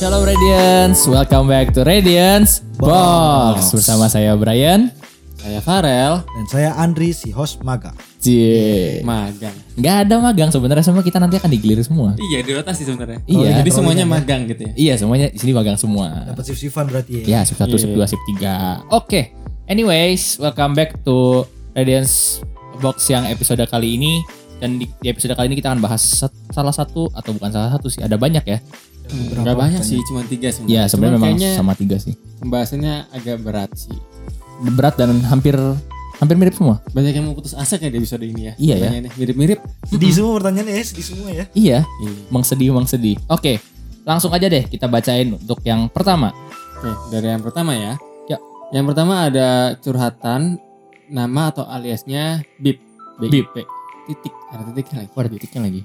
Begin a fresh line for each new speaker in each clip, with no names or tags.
Shalom Radiance, welcome back to Radiance Box,
Box.
Bersama saya Brian
Saya Farel.
Dan saya Andri, si host Maga.
Cie
Iya. Magang.
Gak ada magang sebenarnya semua kita nanti akan digelir semua
Iya di rotasi sebenarnya.
Iya.
Jadi semuanya magang gitu ya.
Iya semuanya di sini magang semua
Dapat sif-sifan berarti ya.
Ya sip 1, sip
Iya.
2, sip 3 Oke, anyways welcome back to Radiance Box yang episode kali ini Dan di di episode kali ini kita akan bahas sat- salah satu atau bukan salah satu sih ada banyak ya
Gak banyak sih, cuma tiga
Ya sebenarnya
sebenarnya. Cuman
memang
kayaknya
sama tiga sih
pembahasannya agak berat sih.
Berat dan hampir hampir mirip semua
Banyak yang mau putus asa kayak di episode ini ya.
Iya ya.
Pertanyaannya Mirip-mirip.
Sedih semua pertanyaannya ya, sedih semua ya.
Iya
Iya.
Mang sedih, mang sedih. Oke, langsung aja deh kita bacain untuk yang pertama.
Oke, dari yang pertama ya.
Ya.
Yang pertama ada curhatan nama atau aliasnya Bip.
Bip.
B- Titik. Ada titiknya lagi.
Wah, ada titiknya lagi.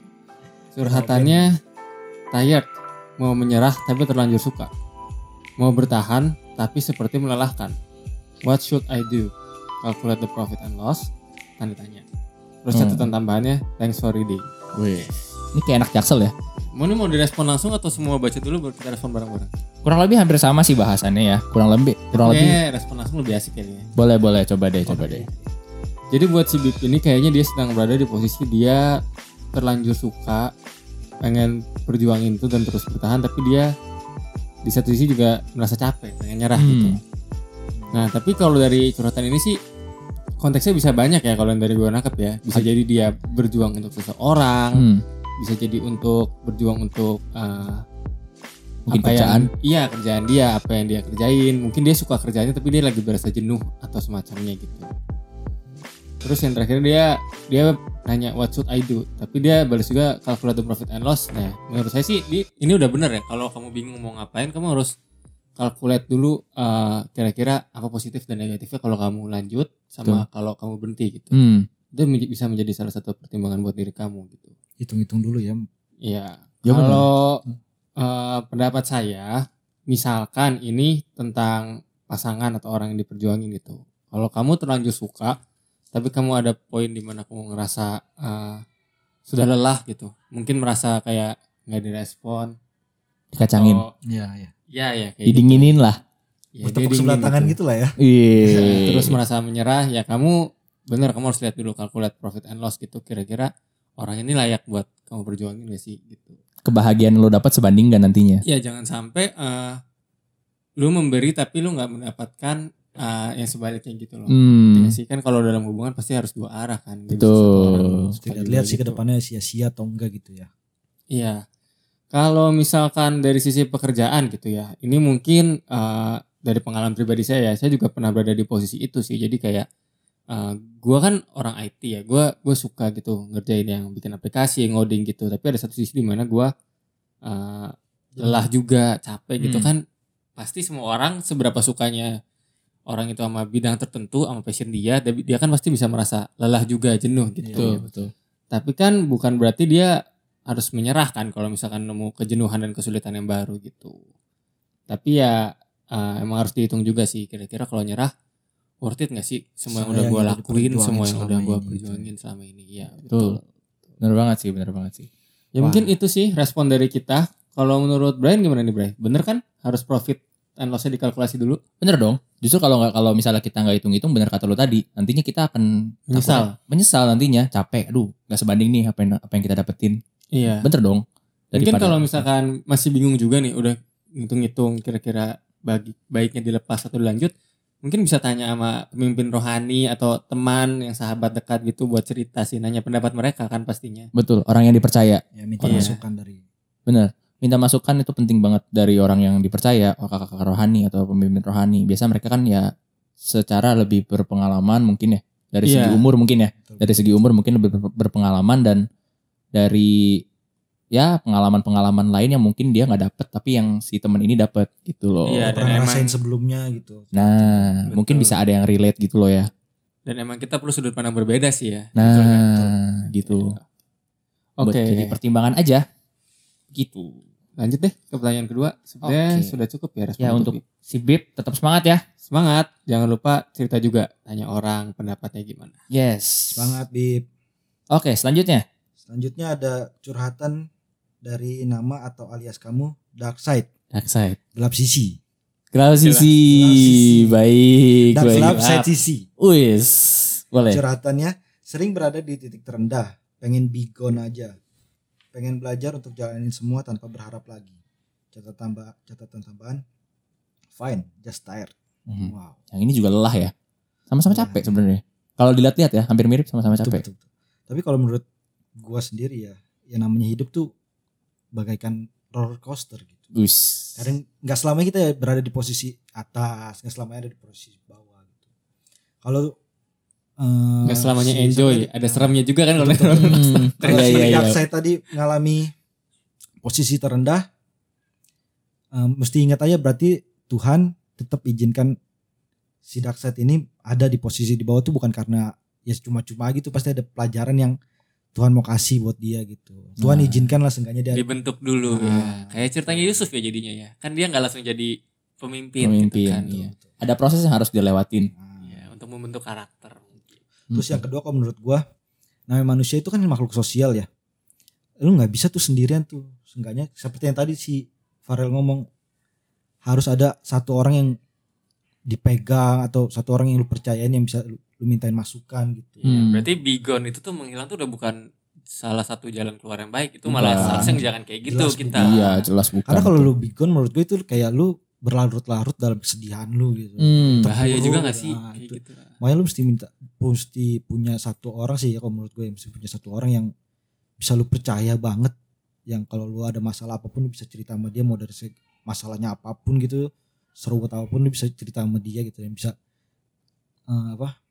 Curhatannya tired, mau menyerah tapi terlanjur suka. Mau bertahan tapi seperti melelahkan. What should I do? Calculate the profit and loss? Tanda tanya. Terus
Hmm.
catatan tambahannya, thanks for reading.
Ini kayak enak jaksel ya.
Mau ini mau direspon langsung atau semua baca dulu baru kita respon bareng-bareng?
Kurang lebih hampir sama sih bahasannya ya. Kurang lebih, kurang lebih.
Kayaknya Iya, respon langsung lebih asik kayaknya.
Boleh, boleh. Coba deh, coba deh.
Jadi buat si Bip ini kayaknya dia sedang berada di posisi dia terlanjur suka, pengen perjuangin itu dan terus bertahan, tapi dia di satu sisi juga merasa capek, pengen nyerah
Hmm.
gitu. Nah tapi kalau dari curhatan ini sih konteksnya bisa banyak ya kalau yang dari gue nangkep ya. Bisa jadi dia berjuang untuk seseorang,
Hmm.
bisa jadi untuk berjuang untuk eh,
Mungkin
apa
kerjaan.
yang iya kerjaan dia apa yang dia kerjain mungkin dia suka kerjaannya tapi dia lagi berasa jenuh atau semacamnya gitu terus yang terakhir dia dia nanya what should I do tapi dia balas juga calculate the profit and loss nah menurut saya sih di- ini udah bener ya kalau kamu bingung mau ngapain kamu harus calculate dulu eh, kira-kira apa positif dan negatifnya kalau kamu lanjut sama kalau kamu berhenti gitu
Hmm.
itu menj- bisa menjadi salah satu pertimbangan buat diri kamu gitu
Hitung-hitung dulu ya.
Iya.
Ya, benar.
Kalau eh, pendapat saya, misalkan ini tentang pasangan atau orang yang diperjuangin gitu. Kalau kamu terlanjur suka, tapi kamu ada poin di mana kamu ngerasa eh, sudah lelah gitu. Mungkin merasa kayak nggak direspon.
Dikacangin.
atau-
Iya, iya.
Iya ya Oh, kayak gitu.
Didinginin lah.
Ya, dia
Bertepuk
dingin
sebelah tangan gitu lah ya.
Iya.
terus merasa menyerah ya kamu bener kamu harus lihat dulu kalkulat profit and loss gitu kira-kira orang ini layak buat kamu perjuangin gak sih gitu
kebahagiaan lo dapat sebanding gak nantinya?
Ya jangan sampai eh, lu memberi tapi lu nggak mendapatkan eh, yang sebaliknya gitu loh.
Hmm.
Ya sih kan kalau dalam hubungan pasti harus dua arah kan. Nggak bisa
Betul.
satu orang suka
Tidak
juga
lihat sih ke
gitu.
depannya sia-sia atau enggak gitu ya.
Iya. Kalau misalkan dari sisi pekerjaan gitu ya, ini mungkin eh, dari pengalaman pribadi saya ya, saya juga pernah berada di posisi itu sih. Jadi kayak eh, gua kan orang IT ya, gua gua suka gitu ngerjain yang bikin aplikasi, ngoding gitu. Tapi ada satu sisi di mana gua eh, lelah juga, capek gitu
Iya. Hmm.
kan. Pasti semua orang seberapa sukanya orang itu sama bidang tertentu, sama passion dia, dia dia kan pasti bisa merasa lelah juga, jenuh gitu.
Betul, betul.
Tapi kan bukan berarti dia harus menyerah kan kalau misalkan nemu kejenuhan dan kesulitan yang baru gitu. Tapi ya eh, emang harus dihitung juga sih kira-kira kalau nyerah worth it gak sih semua yang
Saya
udah
yang
gue
udah
lakuin,
diperjuangin
semua yang
selama
udah gue
ini, gitu.
perjuangin selama ini. Iya,
Betul. Bener banget sih, bener banget sih.
Ya
Wah.
mungkin itu sih respon dari kita. Kalau menurut Brian gimana nih Brian? Bener kan harus profit and lossnya dikalkulasi dulu?
Bener dong. Justru kalau nggak kalau misalnya kita nggak hitung-hitung bener kata lo tadi, nantinya kita akan takut-
Misal.
menyesal nantinya, capek. Aduh, nggak sebanding nih apa yang apa yang kita dapetin.
Iya.
Bener dong.
Mungkin
Daripada-
kalau misalkan masih bingung juga nih udah ngitung-ngitung kira-kira bagi baiknya dilepas atau dilanjut, mungkin bisa tanya sama pemimpin rohani atau teman yang sahabat dekat gitu buat cerita sih nanya pendapat mereka kan pastinya.
betul orang yang dipercaya.
Ya minta
Iya.
masukan dari
Minta masukan itu penting banget dari orang yang dipercaya, oh, kakak-kakak rohani atau pemimpin rohani. Biasa mereka kan ya secara lebih berpengalaman mungkin ya dari segi
Iya.
umur mungkin ya. Dari segi umur mungkin lebih ber- berpengalaman dan dari ya pengalaman-pengalaman lain yang mungkin dia nggak dapet tapi yang si temen ini dapet gitu loh.
Iya,
Nggak
dan
pernah
emang-
ngerasain sebelumnya gitu.
Nah,
Betul.
mungkin bisa ada yang relate gitu loh ya.
Dan emang kita perlu sudut pandang berbeda sih ya. Betul kan? Iya.
Nah, gitu.
Oke.
Buat jadi pertimbangan aja. Gitu.
Lanjut deh ke pertanyaan kedua. Sebenarnya
Oke.
sudah cukup ya respon
Ya
untuk
untuk si Bib tetap semangat ya.
Semangat, jangan lupa cerita juga tanya orang pendapatnya gimana.
Yes.
Banget Bib.
Oke, selanjutnya.
Selanjutnya ada curhatan dari nama atau alias kamu Dark Side.
Dark side.
gelap sisi
Gelap sisi. Baik,
dan
baik.
gelap side sisi
Wis. Boleh.
curhatannya sering berada di titik terendah pengen bigon aja pengen belajar untuk jalanin semua tanpa berharap lagi catatan tambah catatan tambahan fine just tired
Mhm.
wow
Yang ini juga lelah ya. Sama-sama
Iya.
capek sebenarnya. Kalau dilihat-lihat ya, hampir mirip sama-sama
Betul,
capek.
betul, betul. tapi kalau menurut gua sendiri ya ya namanya hidup tuh bagaikan roller coaster gitu
Wis.
kadang nggak selamanya kita berada di posisi atas nggak selamanya ada di posisi bawah gitu kalau eh,
Ah,
Nggak selamanya
si- Nah,
enjoy, ada seramnya juga kan kalau
Hmm.
kalau
Iya,
si
iya,
Dark
iya.
Side tadi mengalami posisi terendah eh, mesti ingat aja berarti Tuhan tetap izinkan si dark side ini ada di posisi di bawah tuh bukan karena ya cuma-cuma gitu pasti ada pelajaran yang Tuhan mau kasih buat dia gitu
Nah.
Tuhan izinkan lah seenggaknya dia
dibentuk dulu ya.
Ah.
Kayak ceritanya
gitu.
Yusuf ya jadinya ya. Kan dia nggak langsung jadi pemimpin,
Pemimpin,
gitu kan.
iya. Ada proses yang harus dilewatin.
Nah.
Iya, untuk membentuk karakter. gitu ya.
Terus yang kedua kalau menurut gua namanya manusia itu kan makhluk sosial ya. Lu nggak bisa tuh sendirian tuh. Seenggaknya seperti yang tadi si Farel ngomong harus ada satu orang yang dipegang atau satu orang yang lu percayain yang bisa lu, lu mintain masukan gitu.
Iya,
Hmm.
Berarti bigon itu tuh menghilang tuh udah bukan salah satu jalan keluar yang baik. Itu
Bukan.
malah seharusnya jangan kayak gitu
Jelas
kita.
bukan.
Iya, jelas bukan.
Karena kalau lu bigon menurut gue itu kayak lu berlarut-larut dalam kesedihan lu gitu.
Hmm.
Bahaya
Terpuruk,
juga gak sih?
nah,
kayak
itu.
gitu.
Makanya lu mesti minta mesti punya satu orang sih ya kalau menurut gue mesti punya satu orang yang bisa lu percaya banget yang kalau lu ada masalah apapun lu bisa cerita sama dia mau dari seg- masalahnya apapun gitu seru atau apapun lu bisa cerita sama dia gitu yang bisa eh, apa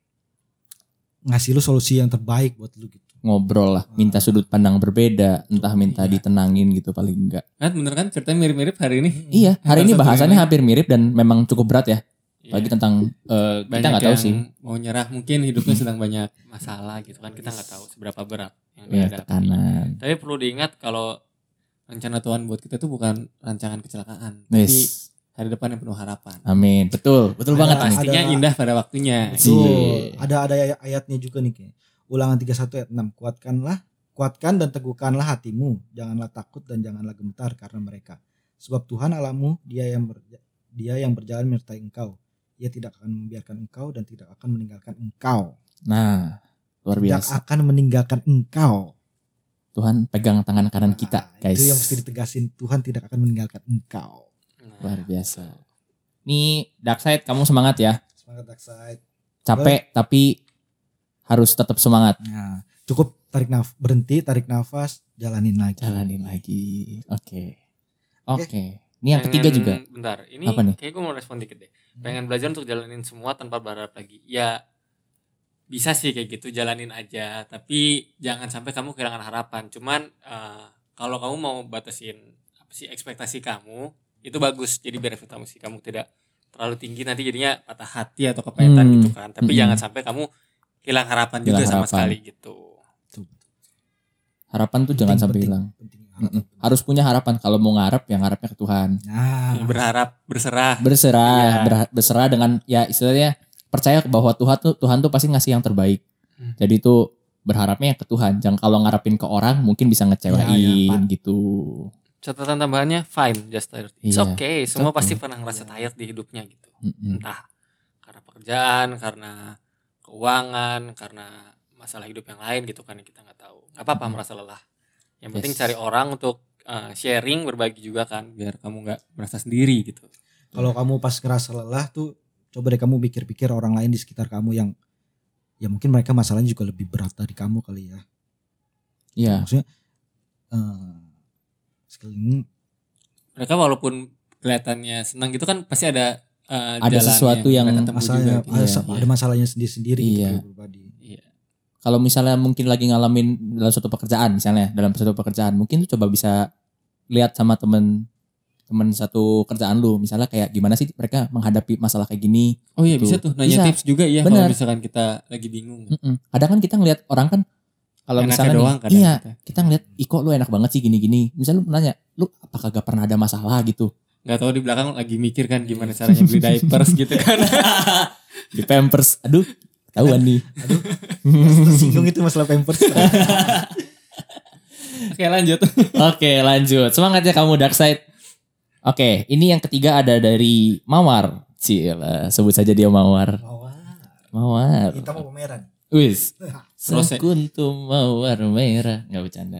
ngasih lu solusi yang terbaik buat lu gitu.
ngobrol lah, minta
Hmm.
sudut pandang berbeda, entah minta
Iya.
ditenangin gitu paling enggak.
Kan bener kan ceritanya mirip-mirip hari ini.
Iya, hari ini
Satu-satunya
bahasannya
ini.
hampir mirip dan memang cukup berat ya,
Iya.
apalagi tentang eh, kita
Banyak
nggak tahu
yang
sih
Mau nyerah mungkin hidupnya sedang banyak
Masalah gitu kan. Kita nggak tahu seberapa berat yang
ya,
dihadapi.
tekanan.
Tapi perlu diingat kalau
rencana Tuhan buat kita tuh bukan rancangan kecelakaan, tapi
Yes.
hari depan yang penuh harapan.
Amin, betul, betul
Ada-
banget nih.
ada-
Pastinya indah pada waktunya.
Betul.
Betul.
Iya.
Ada ada ayat- ayatnya juga nih kayaknya. Ulangan 31 ayat 6. Kuatkanlah, kuatkan dan teguhkanlah hatimu. Janganlah takut dan janganlah gemetar karena mereka. Sebab Tuhan Allahmu, Dia yang berja- Dia yang berjalan menyertai engkau. Ia tidak akan membiarkan engkau dan tidak akan meninggalkan engkau.
Nah, luar
Tidak
biasa.
akan meninggalkan engkau.
Tuhan pegang tangan kanan kita,
Nah,
guys.
Itu yang mesti ditegasin. Tuhan tidak akan meninggalkan engkau.
Iya.
Luar biasa. Nih, Dark Side kamu semangat ya.
Semangat dark side.
Capek tapi harus tetap semangat.
Nah, cukup tarik nafas, berhenti, tarik nafas, jalanin lagi.
Jalanin lagi. Oke.
Oke.
Oke. Ini yang ketiga juga.
Bentar, ini
Apa nih?
kayak gue mau respon dikit deh. Hmm. Pengen belajar untuk jalanin semua tanpa berharap lagi. Ya bisa sih kayak gitu jalanin aja, tapi jangan sampai kamu kehilangan harapan. Cuman eh, kalau kamu mau batasin apa sih ekspektasi kamu, itu bagus. Jadi biar ekspektasi kamu tidak terlalu tinggi nanti jadinya patah hati atau kepahitan
Hmm.
gitu kan. Tapi
Mm-mm.
jangan sampai kamu hilang harapan juga
Hilang
sama
harapan.
sekali gitu.
Tuh,
Harapan tuh jangan
penting,
sampai
penting,
hilang.
penting.
Mm-mm. Harus punya harapan. Kalau mau ngarep, ya ngarepnya ke Tuhan. Ah.
Nah,
Berharap, berserah.
Berserah,
Iya.
berha- berserah dengan ya istilahnya percaya bahwa Tuhan tuh Tuhan tuh pasti ngasih yang terbaik.
Hmm.
Jadi tuh berharapnya ya ke Tuhan. Jangan kalau ngarepin ke orang mungkin bisa ngecewain
Ya, ya, Pak.
gitu.
Catatan tambahannya fine, just tired. It's
Iya,
okay, semua
it's
pasti
okay.
pernah ngerasa tired di hidupnya gitu.
Mm-mm.
entah karena pekerjaan, karena keuangan, karena masalah hidup yang lain gitu kan yang kita nggak tahu. Gak apa-apa
Mhm.
merasa lelah. Yang
Yes.
penting cari orang untuk eh, sharing, berbagi juga kan, biar kamu nggak merasa sendiri gitu.
Kalau kamu pas ngerasa lelah tuh coba deh kamu pikir-pikir orang lain di sekitar kamu yang ya mungkin mereka masalahnya juga lebih berat dari kamu kali ya.
Iya.
Maksudnya eh sekeliling
Mereka walaupun kelihatannya senang gitu kan pasti ada eh,
Ada
jalannya,
sesuatu yang
mereka tempuh juga,
masalahnya
gitu.
ada,
iya,
ada masalahnya sendiri-sendiri gitu
Iya.
kayak pribadi.
Kalau misalnya mungkin lagi ngalamin dalam suatu pekerjaan misalnya dalam suatu pekerjaan mungkin tuh coba bisa lihat sama temen temen satu kerjaan lu misalnya kayak gimana sih mereka menghadapi masalah kayak gini
Oh iya
Tuh.
bisa tuh nanya
Bisa.
tips juga ya
Benar.
kalau misalkan kita lagi
Iya.
bingung.
Mm-mm. Kadang kan kita ngelihat orang kan kalau
Enaknya
misalnya
doang
nih,
kadang
iya,
kita.
kita. ngelihat Iko lu enak banget sih gini-gini. Misal lu nanya, lu apa kagak pernah ada masalah gitu?
Gak tahu di belakang lagi mikir kan gimana
Iya.
caranya beli diapers gitu kan.
Di Pampers. Aduh, ketahuan nih.
Singgung itu masalah pampers.
Iya.
Oke lanjut.
Oke, lanjut. Semangat ya kamu Dark Side. Oke, ini yang ketiga ada dari Mawar. Cila, sebut saja dia Mawar. Mawar.
Kita mau pameran.
Wis.
Rose.
Sekuntum mawar merah. Nggak bercanda.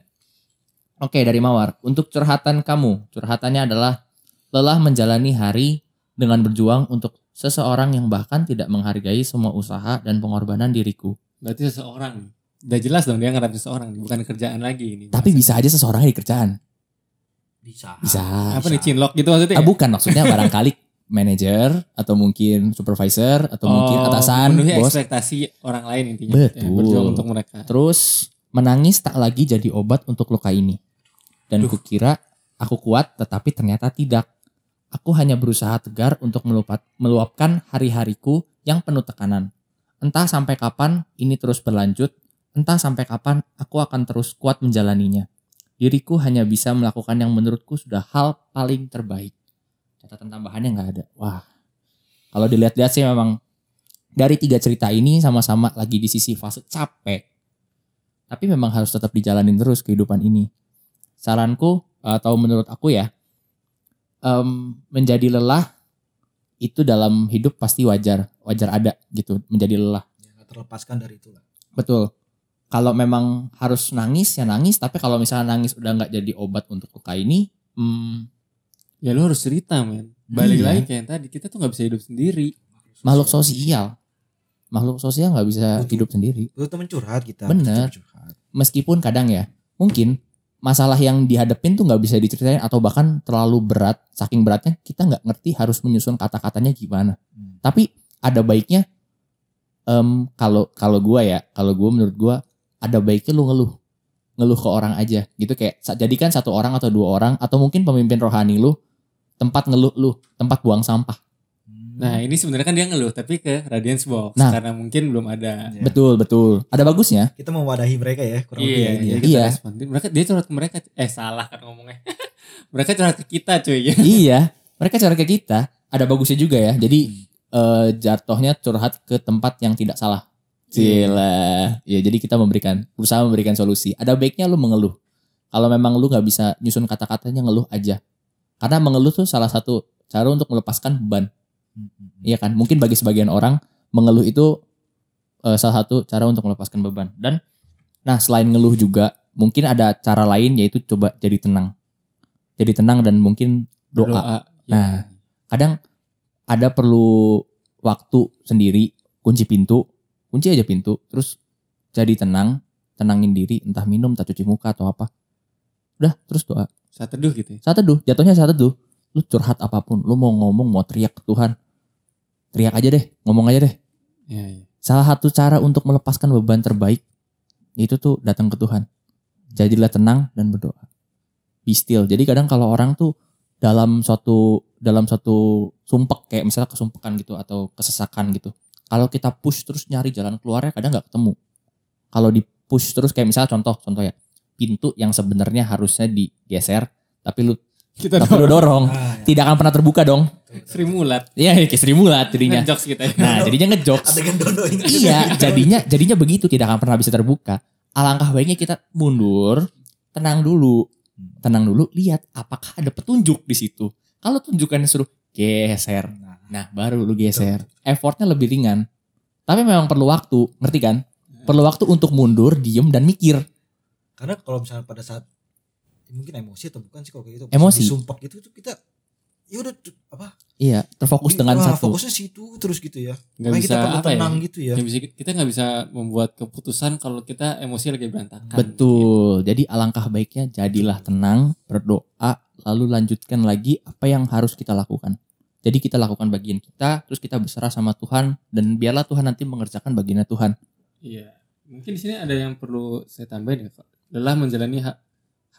Oke dari Mawar. Untuk curhatan kamu. Curhatannya adalah lelah menjalani hari dengan berjuang untuk seseorang yang bahkan tidak menghargai semua usaha dan pengorbanan diriku.
Berarti seseorang. Udah jelas dong dia ngarap seseorang, bukan kerjaan lagi ini.
Tapi bisa aja seseorang di kerjaan.
Bisa.
Bisa.
Apa nih cinlok gitu maksudnya?
Ah, bukan maksudnya barangkali manajer atau mungkin supervisor atau mungkin
Oh,
atasan,
memenuhi
bos.
ekspektasi orang lain intinya.
Betul.
Ya, berjuang untuk mereka.
Terus menangis tak lagi jadi obat untuk luka ini. Dan
Duh.
kukira aku kuat tetapi ternyata tidak. Aku hanya berusaha tegar untuk melupat, meluapkan hari-hariku yang penuh tekanan. Entah sampai kapan ini terus berlanjut, entah sampai kapan aku akan terus kuat menjalaninya. Diriku hanya bisa melakukan yang menurutku sudah hal paling terbaik. Catatan tambahannya nggak ada. Wah, kalau dilihat-lihat sih memang dari tiga cerita ini sama-sama lagi di sisi fase capek tapi memang harus tetap dijalanin terus kehidupan ini. Saranku atau menurut aku ya, em, menjadi lelah itu dalam hidup pasti wajar, wajar ada gitu, menjadi lelah.
Ya, nggak terlepaskan dari itu lah.
Betul. Kalau memang harus nangis ya nangis, tapi kalau misalnya nangis udah nggak jadi obat untuk luka ini, hmm,
Ya lu harus cerita men.
Iya.
Balik
Hmm.
lagi kayak yang tadi, kita tuh nggak bisa hidup sendiri.
makhluk sosial, iya. makhluk sosial nggak bisa
Betul.
hidup sendiri.
Lu temen curhat kita.
Bener.
Temen curhat.
meskipun kadang ya mungkin masalah yang dihadapin tuh nggak bisa diceritain atau bahkan terlalu berat saking beratnya kita nggak ngerti harus menyusun kata-katanya gimana
Hmm.
tapi ada baiknya em, kalau kalau gua ya kalau gua menurut gua ada baiknya lu ngeluh ngeluh ke orang aja gitu kayak sa- jadikan satu orang atau dua orang atau mungkin pemimpin rohani lu tempat ngeluh lu tempat buang sampah
Nah
Hmm.
ini sebenarnya kan dia ngeluh, tapi ke Radiance Box.
Nah.
Karena mungkin belum ada.
Ya.
betul betul ada bagusnya
Kita mewadahi mereka ya kurang lebih ya
Iya,
ini
jadi
ya.
kita
Iya.
respon. Dia- Mereka, dia curhat ke mereka. Eh salah kan ngomongnya. mereka curhat ke kita cuy.
iya mereka cara ke kita ada bagusnya juga ya jadi eh, jatuhnya curhat ke tempat yang tidak salah Gila. Ya jadi kita memberikan berusaha memberikan solusi. Ada baiknya lu mengeluh. Kalau memang lu nggak bisa nyusun kata-katanya ngeluh aja. Karena mengeluh tuh salah satu cara untuk melepaskan beban. Iya kan? Mungkin bagi sebagian orang mengeluh itu eh, salah satu cara untuk melepaskan beban. Dan nah selain ngeluh juga mungkin ada cara lain yaitu coba jadi tenang. Jadi tenang dan mungkin doa
Ya.
Nah. kadang ada perlu waktu sendiri kunci pintu kunci aja pintu terus jadi tenang tenangin diri entah minum entah cuci muka atau apa udah terus doa
Saat teduh gitu ya.
saat teduh jatuhnya saat teduh lu curhat apapun lu mau ngomong mau teriak ke Tuhan teriak aja deh ngomong aja deh
Iya, iya.
salah satu cara untuk melepaskan beban terbaik itu tuh datang ke Tuhan jadilah tenang dan berdoa be still jadi kadang kalau orang tuh dalam suatu dalam suatu sumpek kayak misalnya kesumpekan gitu atau kesesakan gitu kalau kita push terus nyari jalan keluarnya kadang nggak ketemu kalau di push terus kayak misalnya contoh contoh ya pintu yang sebenarnya harusnya digeser tapi lu
Kita
tapi lu
doa.
dorong
Ah, ya.
tidak akan pernah terbuka dong
Sri Mulat.
iya kayak Sri Mulat jadinya
Ngejokes kita ya.
nah jadinya ngejokes
Adegan dodo ini. Gitu.
iya jadinya jadinya begitu tidak akan pernah bisa terbuka alangkah baiknya kita mundur tenang dulu tenang dulu lihat apakah ada petunjuk di situ kalau tunjukkannya suruh geser
Nah,
nah baru lu geser effortnya lebih ringan tapi memang perlu waktu ngerti kan perlu waktu untuk mundur diem dan mikir
karena kalau misalnya pada saat ya mungkin emosi atau bukan sih kalau kayak gitu.
Emosi.
Sumpah gitu tuh kita ya udah tuh, apa?
iya terfokus
di-
dengan
wah,
satu
Fokusnya situ terus gitu ya.
Gak
Makanya
bisa
kita perlu
apa ya.
tenang gitu ya.
Nggak bisa, kita nggak bisa membuat keputusan kalau kita emosi lagi berantakan.
Betul. Jadi alangkah baiknya jadilah tenang, berdoa, lalu lanjutkan lagi apa yang harus kita lakukan. Jadi kita lakukan bagian kita, terus kita berserah sama Tuhan dan biarlah Tuhan nanti mengerjakan bagiannya Tuhan.
Iya. Mungkin di sini ada yang perlu saya tambahin ya. Kak. Lelah menjalani ha-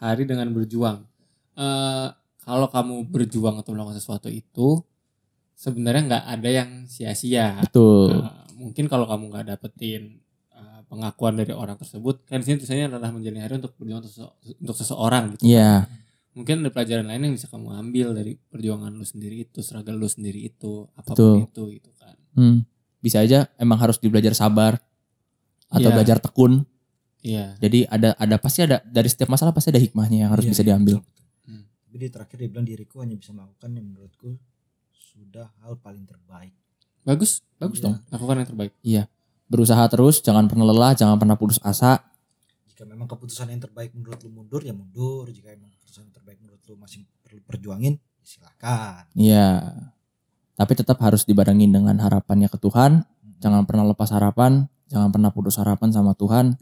hari dengan berjuang. Eh, kalau kamu berjuang atau melakukan sesuatu itu sebenarnya nggak ada yang sia-sia.
Betul.
Nah, mungkin kalau kamu nggak dapetin eh, pengakuan dari orang tersebut, kan di sini tulisannya lelah menjalani hari untuk berjuang untuk, sese- untuk seseorang gitu.
Iya,
Mungkin ada pelajaran lain yang bisa kamu ambil dari perjuangan lu sendiri itu, struggle lu sendiri itu, apapun itu gitu kan.
Hmm. Bisa aja emang harus dibelajar sabar atau
Iya.
belajar tekun.
Iya.
Jadi ada ada pasti ada dari setiap masalah pasti ada hikmahnya yang harus
Iya,
bisa diambil.
betul, betul.
Hmm.
tapi di terakhir dia bilang diriku hanya bisa melakukan yang menurutku sudah hal paling terbaik
Bagus, bagus
Iya.
dong.
lakukan yang terbaik
Berusaha terus, jangan pernah lelah, jangan pernah putus asa.
jika memang keputusan yang terbaik menurut lu mundur ya mundur jika memang keputusan yang terbaik menurut lu masih perlu perjuangin ya silakan
Iya. Tapi tetap harus dibarengin dengan harapannya ke Tuhan. Jangan pernah lepas harapan, jangan pernah putus harapan sama Tuhan.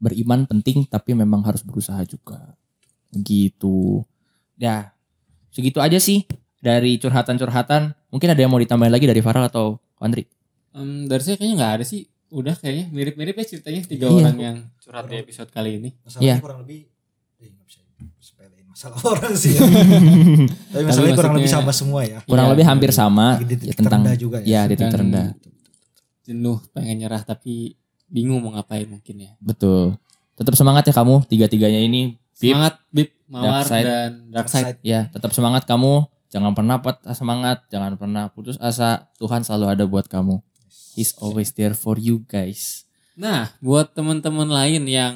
Beriman penting, tapi memang harus berusaha juga. Gitu. Ya, segitu aja sih dari curhatan-curhatan. Mungkin ada yang mau ditambahin lagi dari Farah atau Andri?
Em, dari saya kayaknya nggak ada sih udah kayaknya mirip-mirip ya ceritanya tiga
Iya.
orang yang
curhat
di
di
episode kali ini
masalahnya
Iya.
kurang lebih eh, nggak bisa sepelein masalah orang sih ya. tapi masalahnya kurang lebih sama
maksudnya-
semua ya
Kurang
Iya,
lebih hampir sama
Lagi di
ya,
titik
tentang
terendah juga ya
ya titik
Sedang-
terendah.
jenuh pengen nyerah tapi bingung mau ngapain mungkin ya
Betul. Tetap semangat ya kamu tiga-tiganya ini. Bip.
semangat bib mawar
Dark side.
dan dark side
Ya, tetap semangat kamu. Jangan pernah patah semangat, jangan pernah putus asa. Tuhan selalu ada buat kamu. He's always there for you guys.
Nah, buat teman-teman lain yang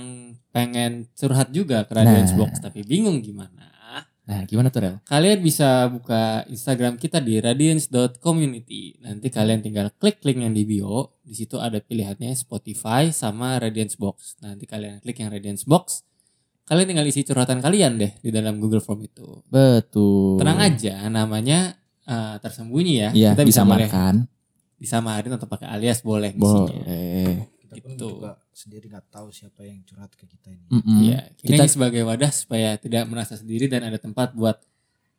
pengen curhat juga ke
Nah.
Radio Xbox tapi bingung gimana,
Nah, gimana tuh Rel?
kalian bisa buka Instagram kita di radiance.community. Nanti kalian tinggal klik link yang di bio. Di situ ada pilihannya Spotify sama Radiance Box. Nanti kalian klik yang Radiance Box. Kalian tinggal isi curhatan kalian deh di dalam Google Form itu.
Betul.
Tenang aja, namanya eh, tersembunyi ya.
Iya,
kita bisa boleh
disamakan.
disamarin atau pakai alias boleh isinya.
Boleh.
kita pun
Gitu.
juga sendiri nggak tahu siapa yang curhat ke kita ini
Mm-mm.
Iya,
Hmm.
kita
Kita-
sebagai wadah supaya tidak merasa sendiri dan ada tempat buat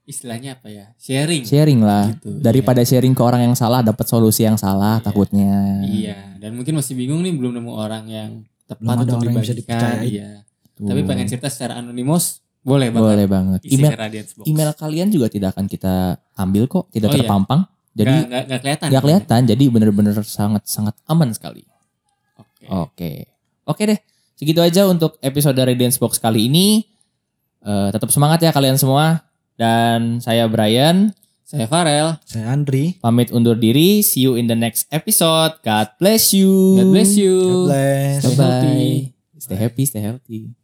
istilahnya apa ya? Sharing.
Sharing lah.
Gitu,
Daripada sharing ke orang yang salah dapat solusi yang salah
Iya.
takutnya.
iya. Iya, dan mungkin masih bingung nih belum nemu orang yang tepat
Belum ada
untuk
orang yang bisa
dibagikan.
dipercayain.
Iya.
Tuh.
Tapi pengen cerita secara anonimos boleh banget.
boleh banget.
Isi
Email
ke Radiance Box.
email kalian juga tidak akan kita ambil kok, tidak
Oh, iya.
terpampang. Jadi
Nggak- nggak- nggak kelihatan. kan?
nggak kelihatan, jadi bener-bener sangat-sangat aman sekali.
Oke.
Oh. Oke. Oke deh. Segitu aja untuk episode Radiance Box kali ini. Eh, tetap semangat ya kalian semua. Dan saya Brian
Saya Farel.
saya Andri
pamit undur diri. See you in the next episode. God bless you.
God bless you.
God bless
Bye
Stay
bye.
healthy.
Stay happy, stay healthy.